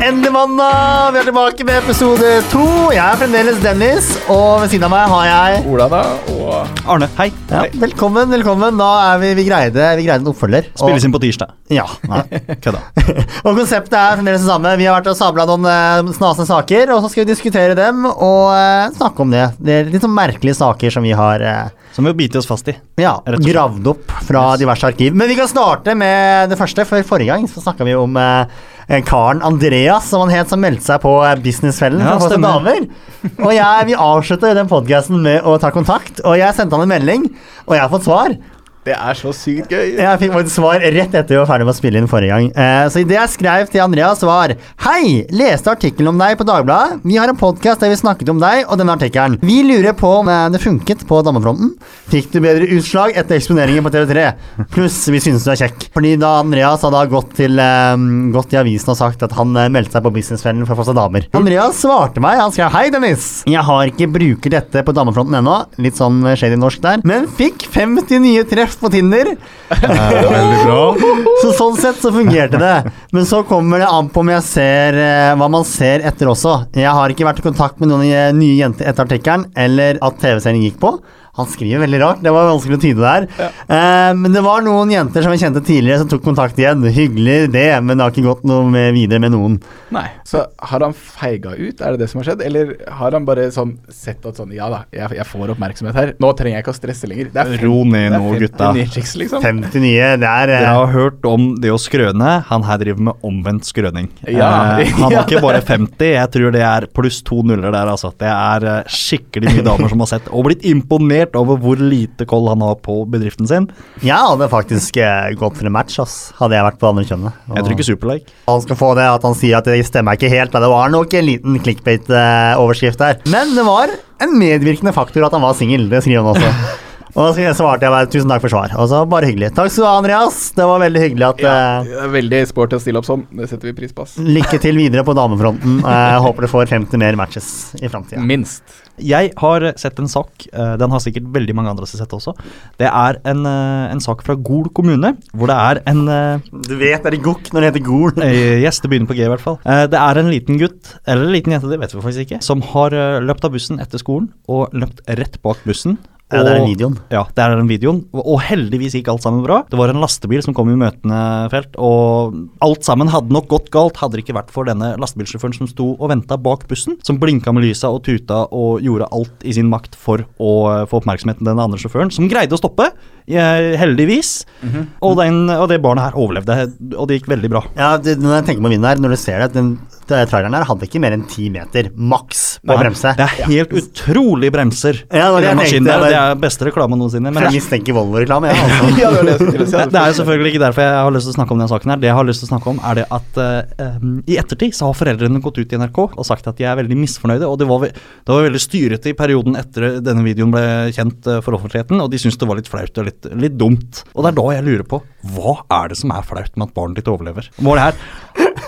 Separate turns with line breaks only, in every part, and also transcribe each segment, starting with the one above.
Endelig mandag! Vi er tilbake med episode to. Jeg er fremdeles Dennis, og ved siden av meg har jeg
Ola, da. Og
Arne, hei.
ja, Velkommen, velkommen. Da er vi Vi greide, vi greide en oppfølger.
Spilles inn på tirsdag.
Ja.
Nei, kødda.
og konseptet er fremdeles det samme. Vi har vært og sabla noen eh, snasende saker, og så skal vi diskutere dem og eh, snakke om det. Det er litt sånn merkelige saker som vi har eh,
Som vi må bite oss fast i.
ja,
Rett og slett.
gravd opp fra diverse arkiv. Men vi kan starte med det første. For forrige gang så snakka vi om eh, en karen Andreas, som han het, som meldte seg på eh, Businessfellen.
Ja,
for å få seg
stemmer.
damer. Og jeg, vi avslutter den podkasten med å ta kontakt, og jeg sendte han en melding, og jeg har fått svar.
det er så sykt gøy.
Jeg fikk faktisk svar rett etter vi var ferdig med å spille inn forrige gang. Eh, så det jeg skrev til Andreas, var Hei! Leste artikkelen om deg på Dagbladet. Vi har en podkast der vi snakket om deg og denne artikkelen. Vi lurer på om eh, det funket på damefronten. Fikk du bedre utslag etter eksponeringen på TV3? Pluss vi synes du er kjekk. Fordi da Andreas hadde gått til eh, gått i avisen og sagt at han eh, meldte seg på Businessfellen for å få seg damer. Andreas svarte meg. Han skrev Hei, Dennis! Jeg har ikke bruker dette på damefronten ennå. Litt sånn eh, shady norsk der. Men fikk 50 nye treff på Tinder.
Veldig bra.
Så sånn sett så fungerte det. Men så kommer det an på om jeg ser eh, hva man ser etter også. Jeg har ikke vært i kontakt med noen eh, nye jenter etter artikkelen, eller at TV-serien gikk på. Han skriver veldig rart. Det var vanskelig å tyde der. Eh, men det var noen jenter som jeg kjente tidligere, som tok kontakt igjen. Hyggelig det, men det har ikke gått noe med videre med noen.
Nei.
Så har han feiga ut, er det det som har skjedd? Eller har han bare sånn sett at sånn Ja da, jeg, jeg får oppmerksomhet her. Nå trenger jeg ikke å stresse lenger. Det er fem-
Ro
det
ned
er
nå,
50
gutta.
nye chicks, liksom.
50 nye, det er eh,
Dere har hørt om det å skrøne. Han her driver med omvendt skrøning.
Ja.
Eh, han
Ja,
har ikke bare 50, jeg tror det er pluss to nuller der, altså. Det er eh, skikkelig mye damer som har sett og blitt imponert over hvor lite koll han har på bedriften sin.
Jeg hadde faktisk eh, gått for en match, ass. Hadde jeg vært på andre kjønnet.
Jeg tror ikke
Ah.
Superlike.
Han skal få det at han sier at det stemmer ikke helt, men det var nok en liten clickbait-overskrift der. Men det var en medvirkende faktor at han var singel, det skriver han også. Og da skrev jeg- svarte jeg bare tusen takk for svar. Og så bare hyggelig. Takk skal du ha, Andreas. Det var veldig hyggelig at
Ja,
eh,
det er veldig sporty å stille opp sånn. Det setter vi pris på. ass.
Lykke til videre på damefronten. Eh, Jeg håper du får 50 mer matches i
Mm.
framtida.
Minst.
Jeg har sett en sak, eh, den har sikkert veldig mange andre sett også. Det er en, eh, en sak fra Gol kommune, hvor det er en eh,
Du vet det er gokk når det heter gol.
Eh, Yes, det begynner på G i hvert fall. Eh, Det er en liten gutt, eller en liten jente, det vet vi faktisk ikke, som har eh, løpt av bussen etter skolen og løpt rett bak bussen.
Ja, det er
og-
den videoen.
Ja, det er den videoen. Og- Og heldigvis gikk alt sammen bra. Det var en lastebil som kom i møtende felt, og alt sammen hadde nok gått galt hadde det ikke vært for denne lastebilsjåføren som sto og venta bak bussen, som blinka med lysa og tuta og gjorde alt i sin makt for å eh, få oppmerksomheten til den andre sjåføren, som greide å stoppe, eh, heldigvis. og, den, og det barnet her overlevde, og det gikk veldig bra.
Ja, det, når jeg tenker på vinden her, når du ser det, den den traileren her hadde ikke mer enn ti meter, maks, på
Nei,
bremse.
Det er helt utrolig bremser.
Ja, det var det
i den
jeg tenkte,
maskinen der.
det
Det
var-
er beste reklame noensinne. Men
Jeg
det,
mistenker Volvo-reklame, jeg. altså.
Ja, det var det jeg skulle til å si.
det er jo selvfølgelig ikke derfor jeg har lyst til å snakke om den saken her. Det jeg har lyst til å snakke om, er det at eh, em, i ettertid så har foreldrene gått ut i NRK og sagt at de er veldig misfornøyde. Og det var, ve det var veldig styrete i perioden etter denne videoen ble kjent eh, for offentligheten, og de syntes det var litt flaut og litt, litt dumt. Og det er da jeg lurer på, hva er det som er flaut med at barnet ditt overlever? Hva er det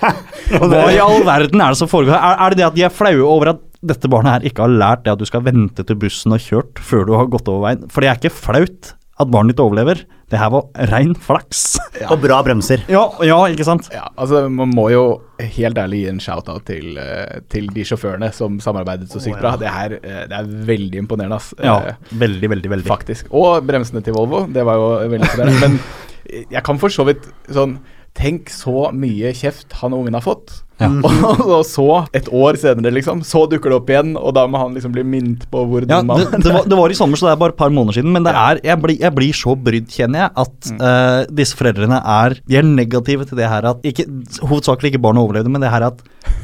her? Hva i all verden er det som foregår? Er, er det det at de er flaue over at dette barnet her ikke har lært det at du skal vente til bussen har kjørt før du har gått over veien? For det er ikke flaut at barnet ditt overlever. Det her var rein flaks.
Og bra bremser.
Ja, ja, ikke sant?
Ja, altså Man må jo helt ærlig gi en shout-out til, eh, til de sjåførene som samarbeidet så sykt bra. Det, her, eh, det er veldig imponerende, ass.
Ja,
Eh,
veldig, veldig, veldig.
Faktisk. Og bremsene til Volvo. Det var jo veldig imponerende. Men jeg kan for så vidt sånn Tenk så mye kjeft han ungen har fått.
Ja.
Og, og så, et år senere, liksom, så dukker det opp igjen, og da må han liksom bli minnet på hvor
Ja,
dum
det,
han er.
det, var, det var i sommer, så det er bare et par måneder siden. Men det er, jeg, blir, jeg blir så brydd, kjenner jeg, at eh, disse foreldrene er De er negative til det her at ikke, Hovedsakelig ikke barnet overlevde, men det her at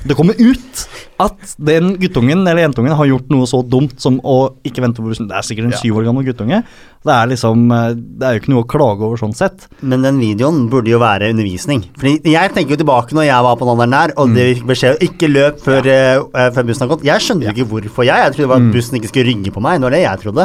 det kommer ut at den guttungen eller jentungen har gjort noe så dumt som å ikke vente på bussen. Det er sikkert en
Ja.
syv år gammel guttunge. Det er liksom eh, Det er jo ikke noe å klage over sånn sett.
Men den videoen burde jo være undervisning. Fordi Jeg tenker jo tilbake når jeg var på den alderen der, og det vi fikk beskjed om ikke løp før, eh, eh, før bussen har gått. Jeg skjønte jo ikke hvorfor jeg. Jeg trodde det var at bussen ikke skulle rygge på meg. Det var det jeg trodde.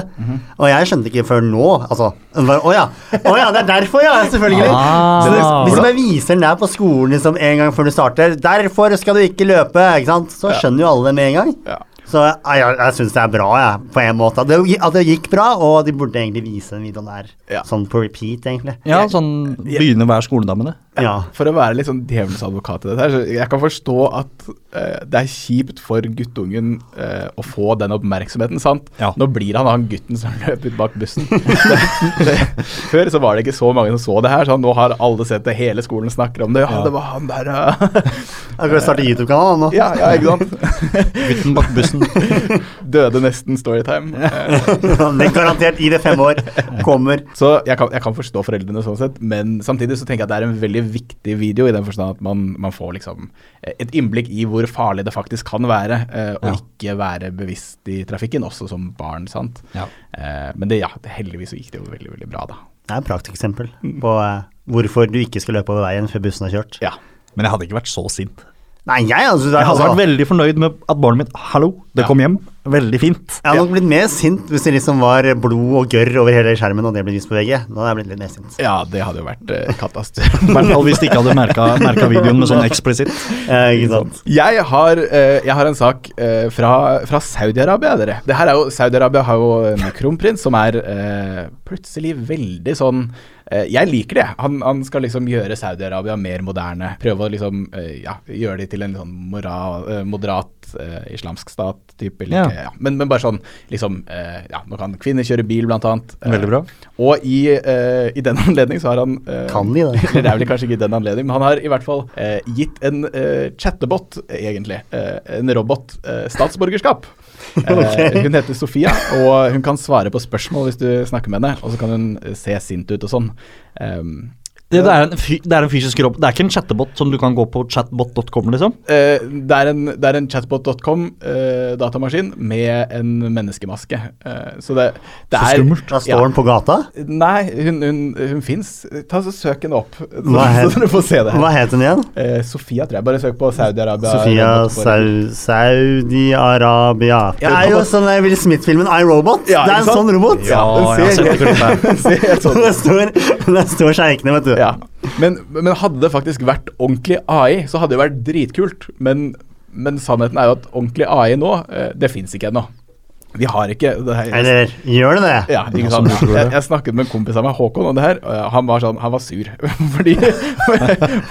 Og jeg skjønte ikke før nå. Altså det var- Å ja. Å ja, det er derfor, ja. Selvfølgelig.
Ah.
Så hvis, hvis jeg viser den der på skolen liksom, en gang før du starter 'Derfor skal du ikke løpe', ikke sant? så skjønner jo alle det med en gang.
Ja.
Så jeg, jeg, jeg syns det er bra, jeg, på en måte. At det, at det gikk bra, og de burde egentlig vise den videoen der
Ja.
sånn på repeat, egentlig.
Ja, sånn begynner hver skoledamen det.
Ja.
For å være litt sånn djevelens advokat i dette her, så jeg kan forstå at eh, det er kjipt for guttungen eh, å få den oppmerksomheten, sant?
Ja.
Nå blir han han gutten som løp ut bak bussen. Det- det- Før så var det ikke så mange som så det her, så nå har alle sett det, hele skolen snakker om det. Ja,
Ja.
det var han der, ja.
Jeg kan starte YouTube-kanal nå.
ja, ja ikke sant?
Gutten bak bussen.
Døde nesten storytime. Eh,
Men garantert, i det fem år, kommer
Så jeg kan, jeg kan forstå foreldrene sånn sett, men samtidig så tenker jeg at det er en veldig viktig video i den forstand at man, man får liksom eh, et innblikk i hvor farlig det faktisk kan være, eh, og
Ja.
ikke være bevisst i trafikken, også som barn, sant.
Ja.
Eh, men det, ja, det, heldigvis så gikk det jo veldig, veldig bra, da.
Det er et prakteksempel på eh, hvorfor du ikke skal løpe over veien før bussen har kjørt.
Ja.
Men jeg hadde ikke vært så sint.
Nei, jeg altså,
Jeg hadde vært
altså,
veldig fornøyd med at barnet mitt Hallo, det
Ja.
kom hjem. Veldig fint.
jeg hadde nok blitt mer sint hvis det liksom var blod og gørr over hele skjermen, og det ble vist på VG. Da hadde jeg blitt litt mer sint.
ja, det hadde jo vært eh, katastrofe.
I hvert fall hvis de ikke hadde merka videoen med sånn eksplisitt.
Eh, ikke sant?
Jeg har, eh, jeg har en sak eh, fra, fra Saudi-Arabia, dere. Det her er jo, Saudi-Arabia har jo en kronprins som er eh, plutselig veldig sånn eh, Jeg liker det. Han, han skal liksom gjøre Saudi-Arabia mer moderne. Prøve å liksom eh, ja, gjøre de til en sånn mora, eh, moderat eh, islamsk stat type. Eller,
Ja.
ikke, ja. Men, men bare sånn liksom eh, Ja, nå kan kvinner kjøre bil, blant annet. Eh,
Veldig bra.
Og i, eh, i den anledning så har han eh,
Kan de det?
eller det er vel kanskje ikke den anledning, men han har i hvert fall eh, gitt en eh, chattebot, eh, egentlig, eh, en robot, eh, statsborgerskap. Eh, hun heter Sofia, og hun kan svare på spørsmål hvis du snakker med henne. Og så kan hun eh, se sint ut og sånn. Ehm,
Det, det, er en fy, det er en fysisk robot. Det er ikke en chattebot som du kan gå på chatbot.com, liksom.
eh, det er en, det er en chatbot.com eh, datamaskin med en menneskemaske. Eh, så det, det
Så
er
skummelt.
Da står
Ja.
den på gata.
Nei, hun, hun, hun fins. Ta så Søk henne opp, så,
Hva
så dere får se det. her.
Hva het den igjen?
Eh, Sofia, tror jeg. Bare søk på Saudi-Arabia.
Sofia
robot på-
Sau- Saudi-Arabia. Det
Ja,
er jo
robot.
sånn der Will Smith-filmen I, Robot.
Ja,
det er
ikke
en
sant?
sånn robot.
Ja,
jeg har
den ser
sett det klippet.
Den ser helt sånn ut.
Der står, der står sjeikene, vet du.
Ja. Men, men hadde det faktisk vært ordentlig AI, så hadde det vært dritkult. Men, men sannheten er jo at ordentlig AI nå, eh, det fins ikke ennå. Vi har ikke det her.
Eller gjør det det?
ja, ikke
Ja, som
sant?
du tror det.
Jeg, jeg snakket med en kompis av meg, Håkon, om det her. og Han var sånn, han var sur. fordi,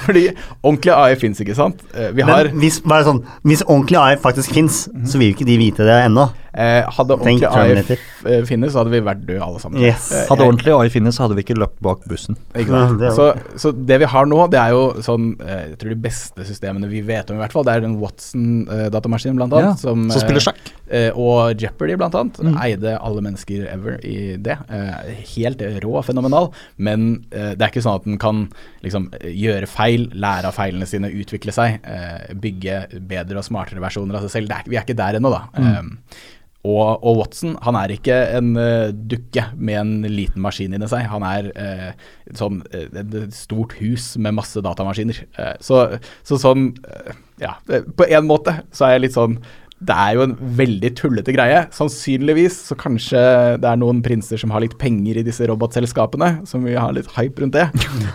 fordi ordentlig AI fins ikke, sant? Eh, Vi har Mhm.
Men hvis, bare sånn, hvis ordentlig AI faktisk fins, så vil jo ikke de vite det ennå.
eh, Hadde
Tenk
ordentlig AI
Terminator.
f- eh, finnes, så hadde vi vært døde alle sammen.
Yes.
Eh,
Hadde
jeg-
ordentlig AI finnes, så hadde vi ikke løpt bak bussen.
Ikke
Ja,
sant?
det er
så, så det vi har nå, det er jo sånn eh, Jeg tror de beste systemene vi vet om, i hvert fall. Det er den Watson-datamaskinen, blant annet.
Ja,
Som,
som spiller sjakk.
eh, og Jeopardy, blant annet. Eide alle mennesker ever i det. Eh, helt rå og fenomenal. Men eh, det er ikke sånn at den kan liksom gjøre feil, lære av feilene sine, utvikle seg. Eh, bygge bedre og smartere versjoner av seg selv. Det er, ikke- vi er ikke der ennå, da. Eh, og, og Watson han er ikke en eh, dukke med en liten maskin inni seg. Han er eh, et sånn, eh, et et stort hus med masse datamaskiner. Eh, så, så sånn eh, Ja, det- på en måte så er jeg litt sånn det er jo en veldig tullete greie. Sannsynligvis så kanskje det er noen prinser som har litt penger i disse robotselskapene, som vi har litt hype rundt det.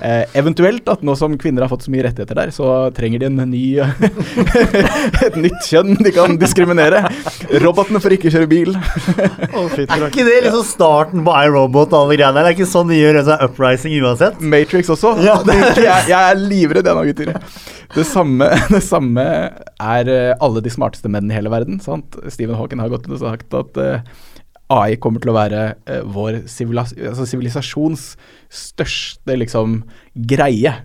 Eh, eventuelt at nå som kvinner har fått så mye rettigheter der, så trenger de en ny Et nytt kjønn de kan diskriminere. Robotene får ikke kjøre bil.
Er ikke det liksom starten på iRobot og alle greiene der? Det er ikke sånn de gjør altså, uprising uansett?
Matrix også.
Ja,
Det- jeg, jeg er livredd, jeg nå, gutter. Det samme, det samme er eh, alle de smarteste menn i hele verden. Sant? Stephen Hawking har gått ut og sagt at eh, AI kommer til å være eh, vår sivilas- altså sivilisasjons største liksom, greie.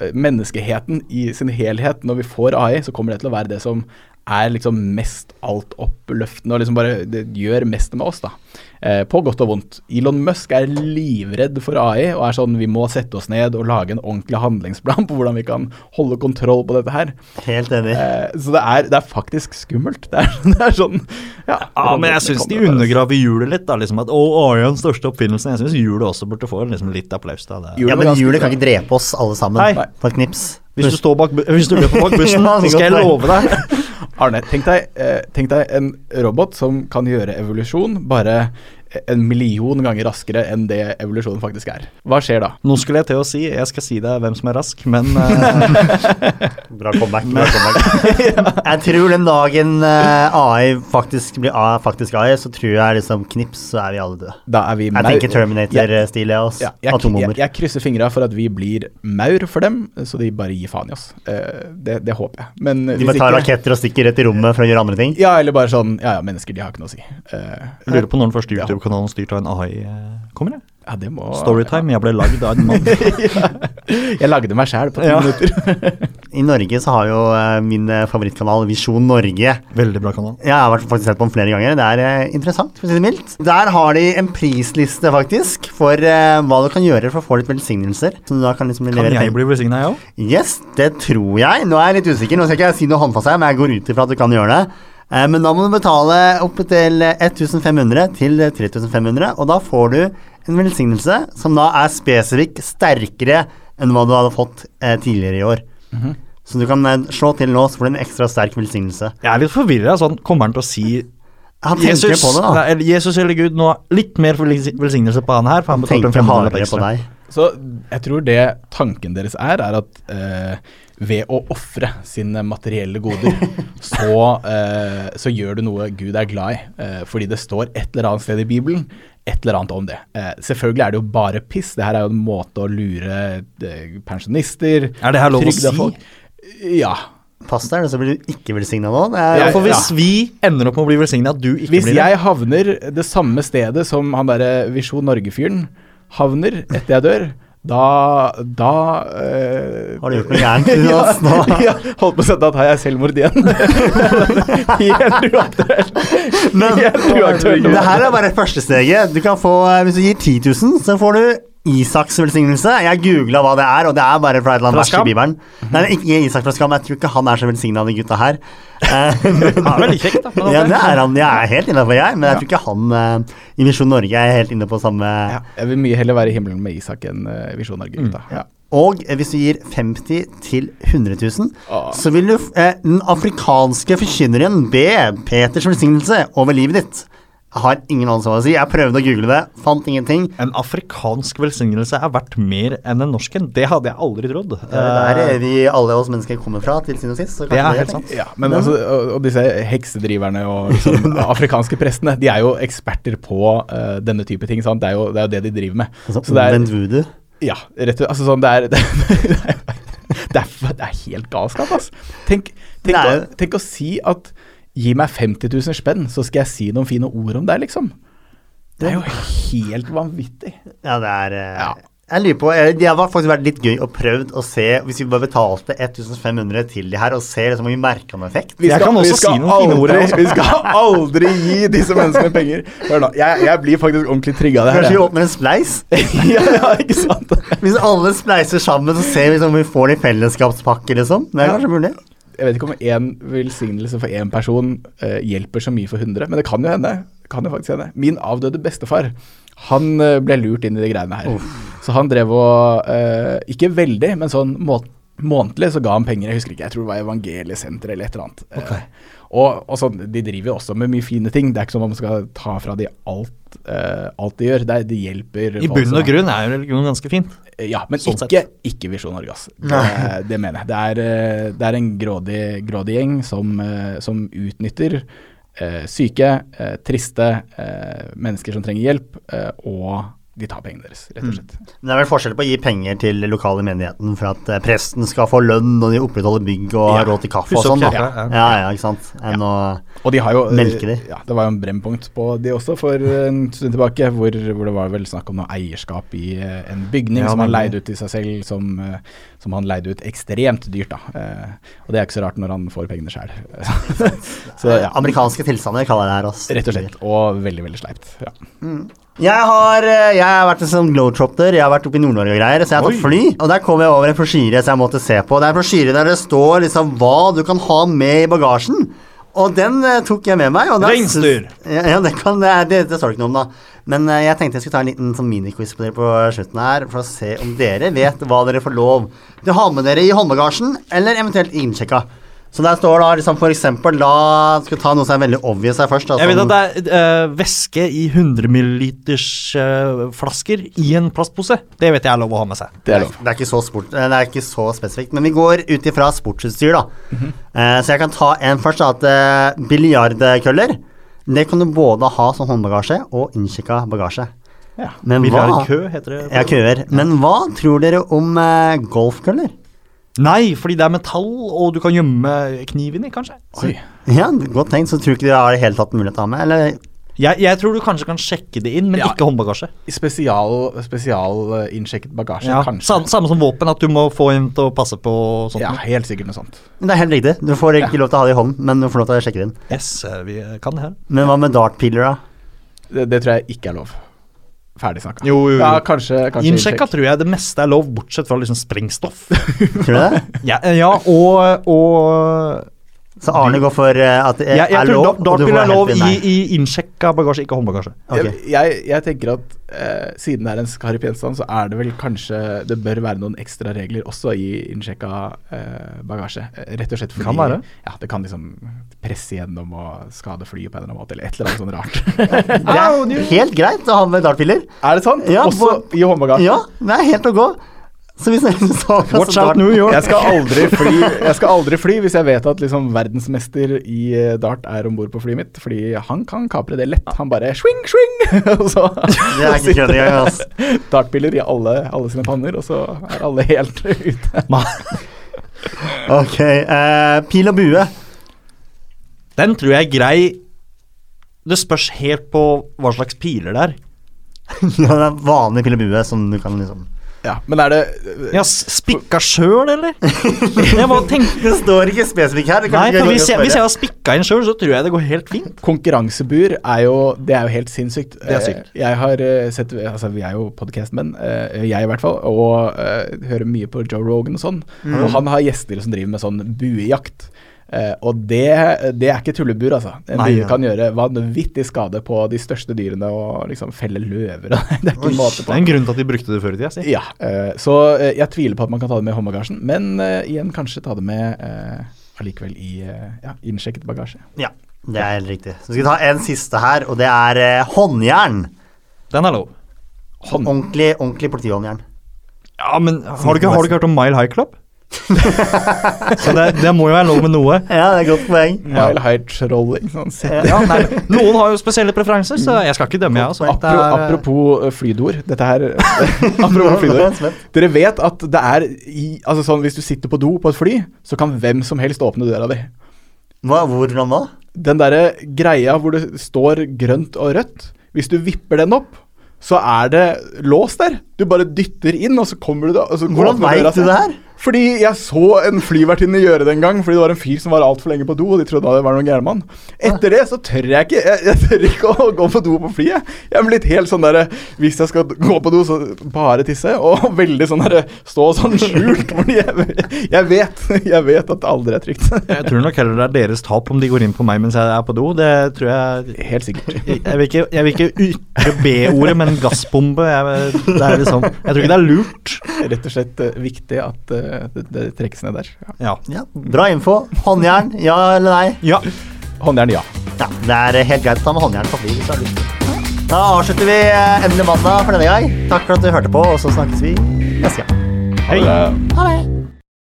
Eh, Menneskeheten i sin helhet, når vi får AI, så kommer det til å være det som er liksom mest altoppløftende og liksom bare det gjør mest med oss, da. Eh, på godt og vondt. Elon Musk er livredd for AI og er sånn vi må sette oss ned og lage en ordentlig handlingsplan på hvordan vi kan holde kontroll på dette her.
Helt enig.
Eh, så det er, det er faktisk skummelt. Det er, det er sånn Ja,
Ja, men jeg syns de undergraver hjulet litt. da, liksom at Å, AI er den største oppfinnelsen. Jeg syns hjulet også burde få liksom, litt applaus. da. Det.
Hjulet
Ja, men
var ganske
julet
bra.
kan ikke drepe oss alle sammen
Nei.
på et knips.
Hvis du, står bak, bu- hvis du løper bak bussen,
Ja, det er
så skal jeg
godt
love deg
Arne, tenk deg, eh, tenk deg en robot som kan gjøre evolusjon, bare en million ganger raskere enn det evolusjonen faktisk er. Hva skjer da?
Nå skulle jeg til å si Jeg skal si deg hvem som er rask, men eh,
Bra comeback. Bra comeback. Jeg tror den dagen eh, AI faktisk blir AI, faktisk AI, så tror jeg liksom knips, så er vi alle døde.
Da er vi
Jeg
mau-
tenker Terminator-stil, jeg, altså.
Ja, jeg, jeg,
Atombomber.
jeg krysser fingra for at vi blir maur for dem, så de bare gir faen i oss. Eh, det, det håper jeg. Men
De bare tar raketter og stikker rett i rommet for å gjøre andre ting.
Ja, eller bare sånn Ja ja, mennesker, de har ikke noe å si. Eh,
lurer på når den første YouTube-kanalen styrt av en AI eh, kommer. jeg.
ja, det må
Storytime. Jeg ble lagd av en mann.
Jeg lagde meg sjæl på ti
Ja.
minutter.
I Norge så har jo eh, min eh, favorittkanal Visjon Norge
Veldig bra kanal.
Jeg har vært- faktisk sett på den flere ganger. Det er eh, interessant, for å si det mildt. Der har de en prisliste, faktisk, for eh, hva du kan gjøre for å få litt velsignelser. Så du da kan liksom
Kan
levere
jeg
penger.
bli velsigna, jeg òg?
Yes, det tror jeg. Nå er jeg litt usikker, nå skal ikke jeg si noe håndfast her, men jeg går ut ifra at du kan gjøre det. Eh, Men da må du betale opp til eh, 1500 til eh, 3500, og da får du en velsignelse som da er spesifikk sterkere enn hva du hadde fått eh, tidligere i år.
Mhm.
Så du kan eh, slå til nå, så får du en ekstra sterk velsignelse.
Jeg er litt forvirra. Sånn, kommer han til å si
Han tenker
Jesus,
på det, da.
nei, eller Jesus eller Gud, nå litt mer velsi- velsignelse på han her, for han
Han
betalte en
tenker
500 lapp
hardere på
ekstra.
deg.
Så jeg tror det tanken deres er, er at eh, ved å ofre sine materielle goder, så, eh, så gjør du noe Gud er glad i. eh, fordi det står et eller annet sted i Bibelen et eller annet om det. Eh, selvfølgelig er det jo bare piss. Det her er jo en måte å lure eh, pensjonister
Er det her lov å
trygdefolk-
si?
Ja.
Pass deg, eller så blir du ikke velsigna nå. Det er,
Ja,
Ja,
for hvis vi ender opp med å bli velsigna, at du ikke
Hvis
blir det
jeg havner det samme stedet som han derre Visjon Norge-fyren havner etter jeg dør, da, da eh,
Har du gjort noe gærent til oss nå?
ja, holdt på å si at da tar jeg selvmord igjen. Helt uaktuelt. Helt uaktuelt.
Det her er bare første steget. Du kan få, eh, hvis du gir 10 000, så får du Isaks velsignelse. Jeg googla hva det er, og det er bare fra et eller annet
Fra
vers i
Skam?
Bibelen. Nei, det er ikke Isak fra Skam, jeg tror ikke han er så velsigna, de gutta her. Eh, men-
Han er veldig kjekk, da, men
ja,
ok.
det er han. Jeg er helt innafor, jeg. Men jeg tror ikke han eh, i Visjon Norge er helt inne på samme
Ja, jeg vil mye heller være i himmelen med Isak enn eh, Visjon Norge.
Mm.
gutta. Ja.
Og eh, hvis du gir 50 til 100 000,
Ah.
så vil du f- eh, den afrikanske forkynneren be Peters velsignelse over livet ditt. Jeg har ingen anelse hva å si. Jeg prøvde å google det, fant ingenting.
En afrikansk velsignelse er verdt mer enn en norsk en. Det hadde jeg aldri trodd.
Det er der eh, vi alle oss mennesker kommer fra, til sin og sist. Så
Det
kanskje
er helt
jeg
sant.
tenker.
Eh, Ja, men altså, og, og disse heksedriverne og liksom, afrikanske prestene, de er jo eksperter på eh, denne type ting. Sant? Det, er jo, det er jo det de driver med.
Altså,
Så det er-
omvendt voodoo.
Ja, rett og altså sånn, det er det, er- det, er, det er helt galskap, altså. Tenk, tenk,
Det er
å, tenk å si at gi meg 50 000 spenn, så skal jeg si noen fine ord om deg, liksom. Det er jo helt vanvittig.
Ja, det er eh,
Ja.
Jeg lurer på, eh, Det har faktisk vært litt gøy å prøvd å se, hvis vi bare betalte 1500 til de her, og ser liksom, om vi merka noen effekt.
Vi
Jeg kan også
vi skal
si noen fine ord, altså. jeg
aldri-
også.
Vi skal aldri gi disse menneskene penger. Hør nå, jeg, jeg blir faktisk ordentlig trigga av det
Kanskje vi
her.
åpner en spleis?
jeg. Ja, ja, ikke sant?
Hvis alle spleiser sammen, så ser vi liksom om vi får det i fellesskapspakke, liksom. Det er kanskje mulig.
Jeg vet ikke om én velsignelse for én person eh, hjelper så mye for 100, men det kan jo hende. Det kan jo faktisk hende. Min avdøde bestefar han eh, ble lurt inn i de greiene her. Så han drev og eh, Ikke veldig, men sånn må månedlig så ga han penger. Jeg husker ikke, jeg tror det var Evangeliesenteret eller et eller annet. Eh, og, og sånn, De driver jo også med mye fine ting. Det er ikke som om man skal ta fra de alt, eh, alt de gjør. Det er, de hjelper
Eh, I
folk
bunn
som
og
er-
grunn er jo religion ganske fint.
Eh, ja, men
Sånn
ikke, ikke Visjon Norge, ass. Det, det mener jeg. Det er, eh, det er en grådig, grådig gjeng som, eh, som utnytter eh, syke, eh, triste eh, mennesker som trenger hjelp, eh, og de tar pengene deres, rett
Mm.
og slett.
Men det er vel forskjell på å gi penger til lokale menigheten for at eh, presten skal få lønn, og de opprettholder bygg og har
Ja.
råd til kaffe og
Pusse opp
sånn, da.
kirka, ja.
Ja, ja, ikke sant. Enn å
Og de har jo eh,
Melke de.
Ja, det var jo en brennpunkt på de også for en stund tilbake, hvor, hvor det var vel snakk om noe eierskap i eh, en bygning
Ja,
som han
nemlig.
leide ut til seg selv, som, eh, som han leide ut ekstremt dyrt, da. Eh, Og det er ikke så rart når han får pengene sjøl. Så ja.
Amerikanske tilstander kaller jeg det her, ass.
Rett og slett. Og veldig, veldig sleipt. Ja.
Jeg har, eh, jeg har vært en sånn globetrotter, jeg har vært oppe i Nord-Norge og greier, så jeg har tatt
Oi.
fly. Og der kom jeg over en brosjyre som jeg måtte se på. Det er en brosjyre der det står liksom hva du kan ha med i bagasjen. Og den eh, tok jeg med meg. Og da-
Reinsdyr.
Ja, ja, det, kan, det, er- det, det står det ikke noe om, da. Men eh, jeg tenkte jeg skulle ta en liten sånn miniquiz på dere på slutten her, for å se om dere vet hva dere får lov til å ha med dere i håndbagasjen, eller eventuelt innsjekka. Så der står da liksom for eksempel da Skal vi ta noe som er veldig obvious her først. Da,
Jeg vet
som-
at det er eh, væske i 100 milliliters eh, flasker i en plastpose. Det vet jeg er lov å ha med seg.
Det er lov.
Det er ikke så, sport, eh, det er ikke så spesifikt, men vi går ut ifra sportsutstyr, da.
Mhm.
Eh, så jeg kan ta en først, da. At uh, biljardkøller Det kan du både ha som håndbagasje og innkikka bagasje.
Ja.
Men
Vil
hva
være i kø, heter det.
Ja, køer. Men hva tror dere om eh, golfkøller?
Nei, fordi det er metall, og du kan gjemme kniven i, kanskje.
Oi.
Ja, godt tenkt. Så tror ikke dere har i hele tatt mulighet til å ha med? Eller
Jeg, jeg tror du kanskje kan sjekke det inn, men
Ja.
ikke håndbagasje.
Spesial, spesial eh, innsjekket bagasje,
Ja.
kanskje.
Samme, samme som våpen, at du må få en til å passe på og sånt.
Ja,
noe.
helt sikkert noe sånt.
Det er helt riktig. Du får ikke lov til å ha det i hånden, men du får lov til å sjekke det inn.
Yes, eh, vi eh, kan det her.
Men hva med dartpiler, da?
Det, det tror jeg ikke er lov. Ferdig snakka.
Jo, jo, jo.
Ja, kanskje, kanskje
Innsjekka
innsjekk.
tror jeg det meste er lov, bortsett fra liksom sprengstoff.
Tror du det?
ja, eh, ja, og, og
Så Arne går for eh, at det er,
Jeg, jeg
er
tror
lov,
da-
og du
dartbil
får
er
helt
lov
fint
i,
nei.
i innsjekka bagasje, ikke håndbagasje.
Ok.
Jeg, jeg, jeg tenker at eh, siden det er en skarp gjenstand, så er det vel kanskje Det bør være noen ekstra regler også i innsjekka eh, bagasje. Eh, Rett og slett fordi
Kan være.
Ja, det kan liksom presse gjennom og skade flyet på en eller annen måte, eller et eller annet sånn rart.
Det er helt greit å ha med dartpiler.
er det sant?
Ja,
også
på-
i håndbagasjen?
Ja, det er helt å gå. Så hvis dere så
Watch out New York.
Jeg skal, aldri fly, jeg skal aldri fly hvis jeg vet at liksom verdensmester i eh, dart er om bord på flyet mitt. Fordi han kan kapre det lett. Han bare swing, swing! og så
Det er ikke kødd engang, ass.
dartpiller i alle, alle sine panner, og så er alle helt ute.
Ok, eh, pil og bue.
Den tror jeg er grei. Det spørs helt på hva slags piler det er.
Ja, det er vanlig pil og bue som du kan liksom
Ja, men er det
Ja, s- Spikka sjøl, eller? Jeg bare tenk-
Det står ikke spesifikt her. det kan
Nei,
ikke
for
gå
hvis
til å
jeg, hvis jeg
spørre.
har spikka en sjøl, så tror jeg det går helt fint.
Konkurransebur er jo Det er jo helt sinnssykt.
Det er sykt.
Eh, Jeg har eh, sett Altså, vi er jo podkastmenn, jeg i hvert fall, og eh, hører mye på Joe Rogan og sånn.
Mm.
Og han har gjester som driver med sånn buejakt. Eh, og det, det er ikke tullebur, altså. En
Nei,
bue
ja.
kan gjøre vanvittig skade på de største dyrene og liksom felle løver. det er ikke
Oi,
måte
Det
på.
er en grunn til at de brukte det før i tida. si.
Ja, eh, så eh, jeg tviler på at man kan ta det med i håndbagasjen, men eh, igjen kanskje ta det med eh, allikevel i eh, ja, innsjekket bagasje.
Ja, det er helt riktig. Så skal vi ta en siste her, og det er eh, håndjern.
Den er lov.
Hånd.
Ordentlig, ordentlig politihåndjern.
Ja, men har du ikke, har du ikke hørt om Mile High Club? så det, det må jo være lov med noe.
Ja, det er et godt poeng.
Mile high trolling. Sånn sett.
Ja, nei, noen har jo spesielle preferanser, så jeg skal ikke dømme, jeg. Altså.
Apro, apropos eh, flydoer. Dette her Apropos
Nå er jeg
flydoer.
spent.
Dere vet at det er i, altså sånn, Hvis du sitter på do på et fly, så kan hvem som helst åpne døra di.
Hva, hvordan da?
Den derre greia hvor det står grønt og rødt, hvis du vipper den opp, så er det lås der. Du bare dytter inn, og så kommer du da og så
Hvordan
åpner døra
vet du
seg.
det her?
Fordi jeg så en flyvertinne gjøre det en gang, fordi det var en fyr som var altfor lenge på do, og de trodde det var noen gærmann. Etter det så tør jeg ikke jeg, jeg tør ikke å gå på do på flyet. Jeg er blitt helt sånn derre Hvis jeg skal gå på do, så bare tisse. Og veldig sånn derre Stå sånn skjult, fordi jeg, jeg vet Jeg vet at det aldri er trygt.
Jeg tror nok heller det er deres tap om de går inn på meg mens jeg er på do. Det tror jeg
Helt sikkert.
Jeg jeg vil ikke, jeg vil ikke ytre B-ordet, men gassbombe. Jeg, det er liksom, jeg tror ikke det er lurt.
Rett og slett eh, viktig at eh, det, det trekkes ned der. Ja.
Ja.
Ja, bra info. Håndjern, ja eller nei?
ja.
Håndjern, ja.
Ja, det er eh, helt greit å ta med håndjern på fly hvis du har lyst. Da avslutter vi eh, Endelig mandag for denne gang. Takk for at du hørte på, og så snakkes vi neste gang.
Ha det.
Ha det!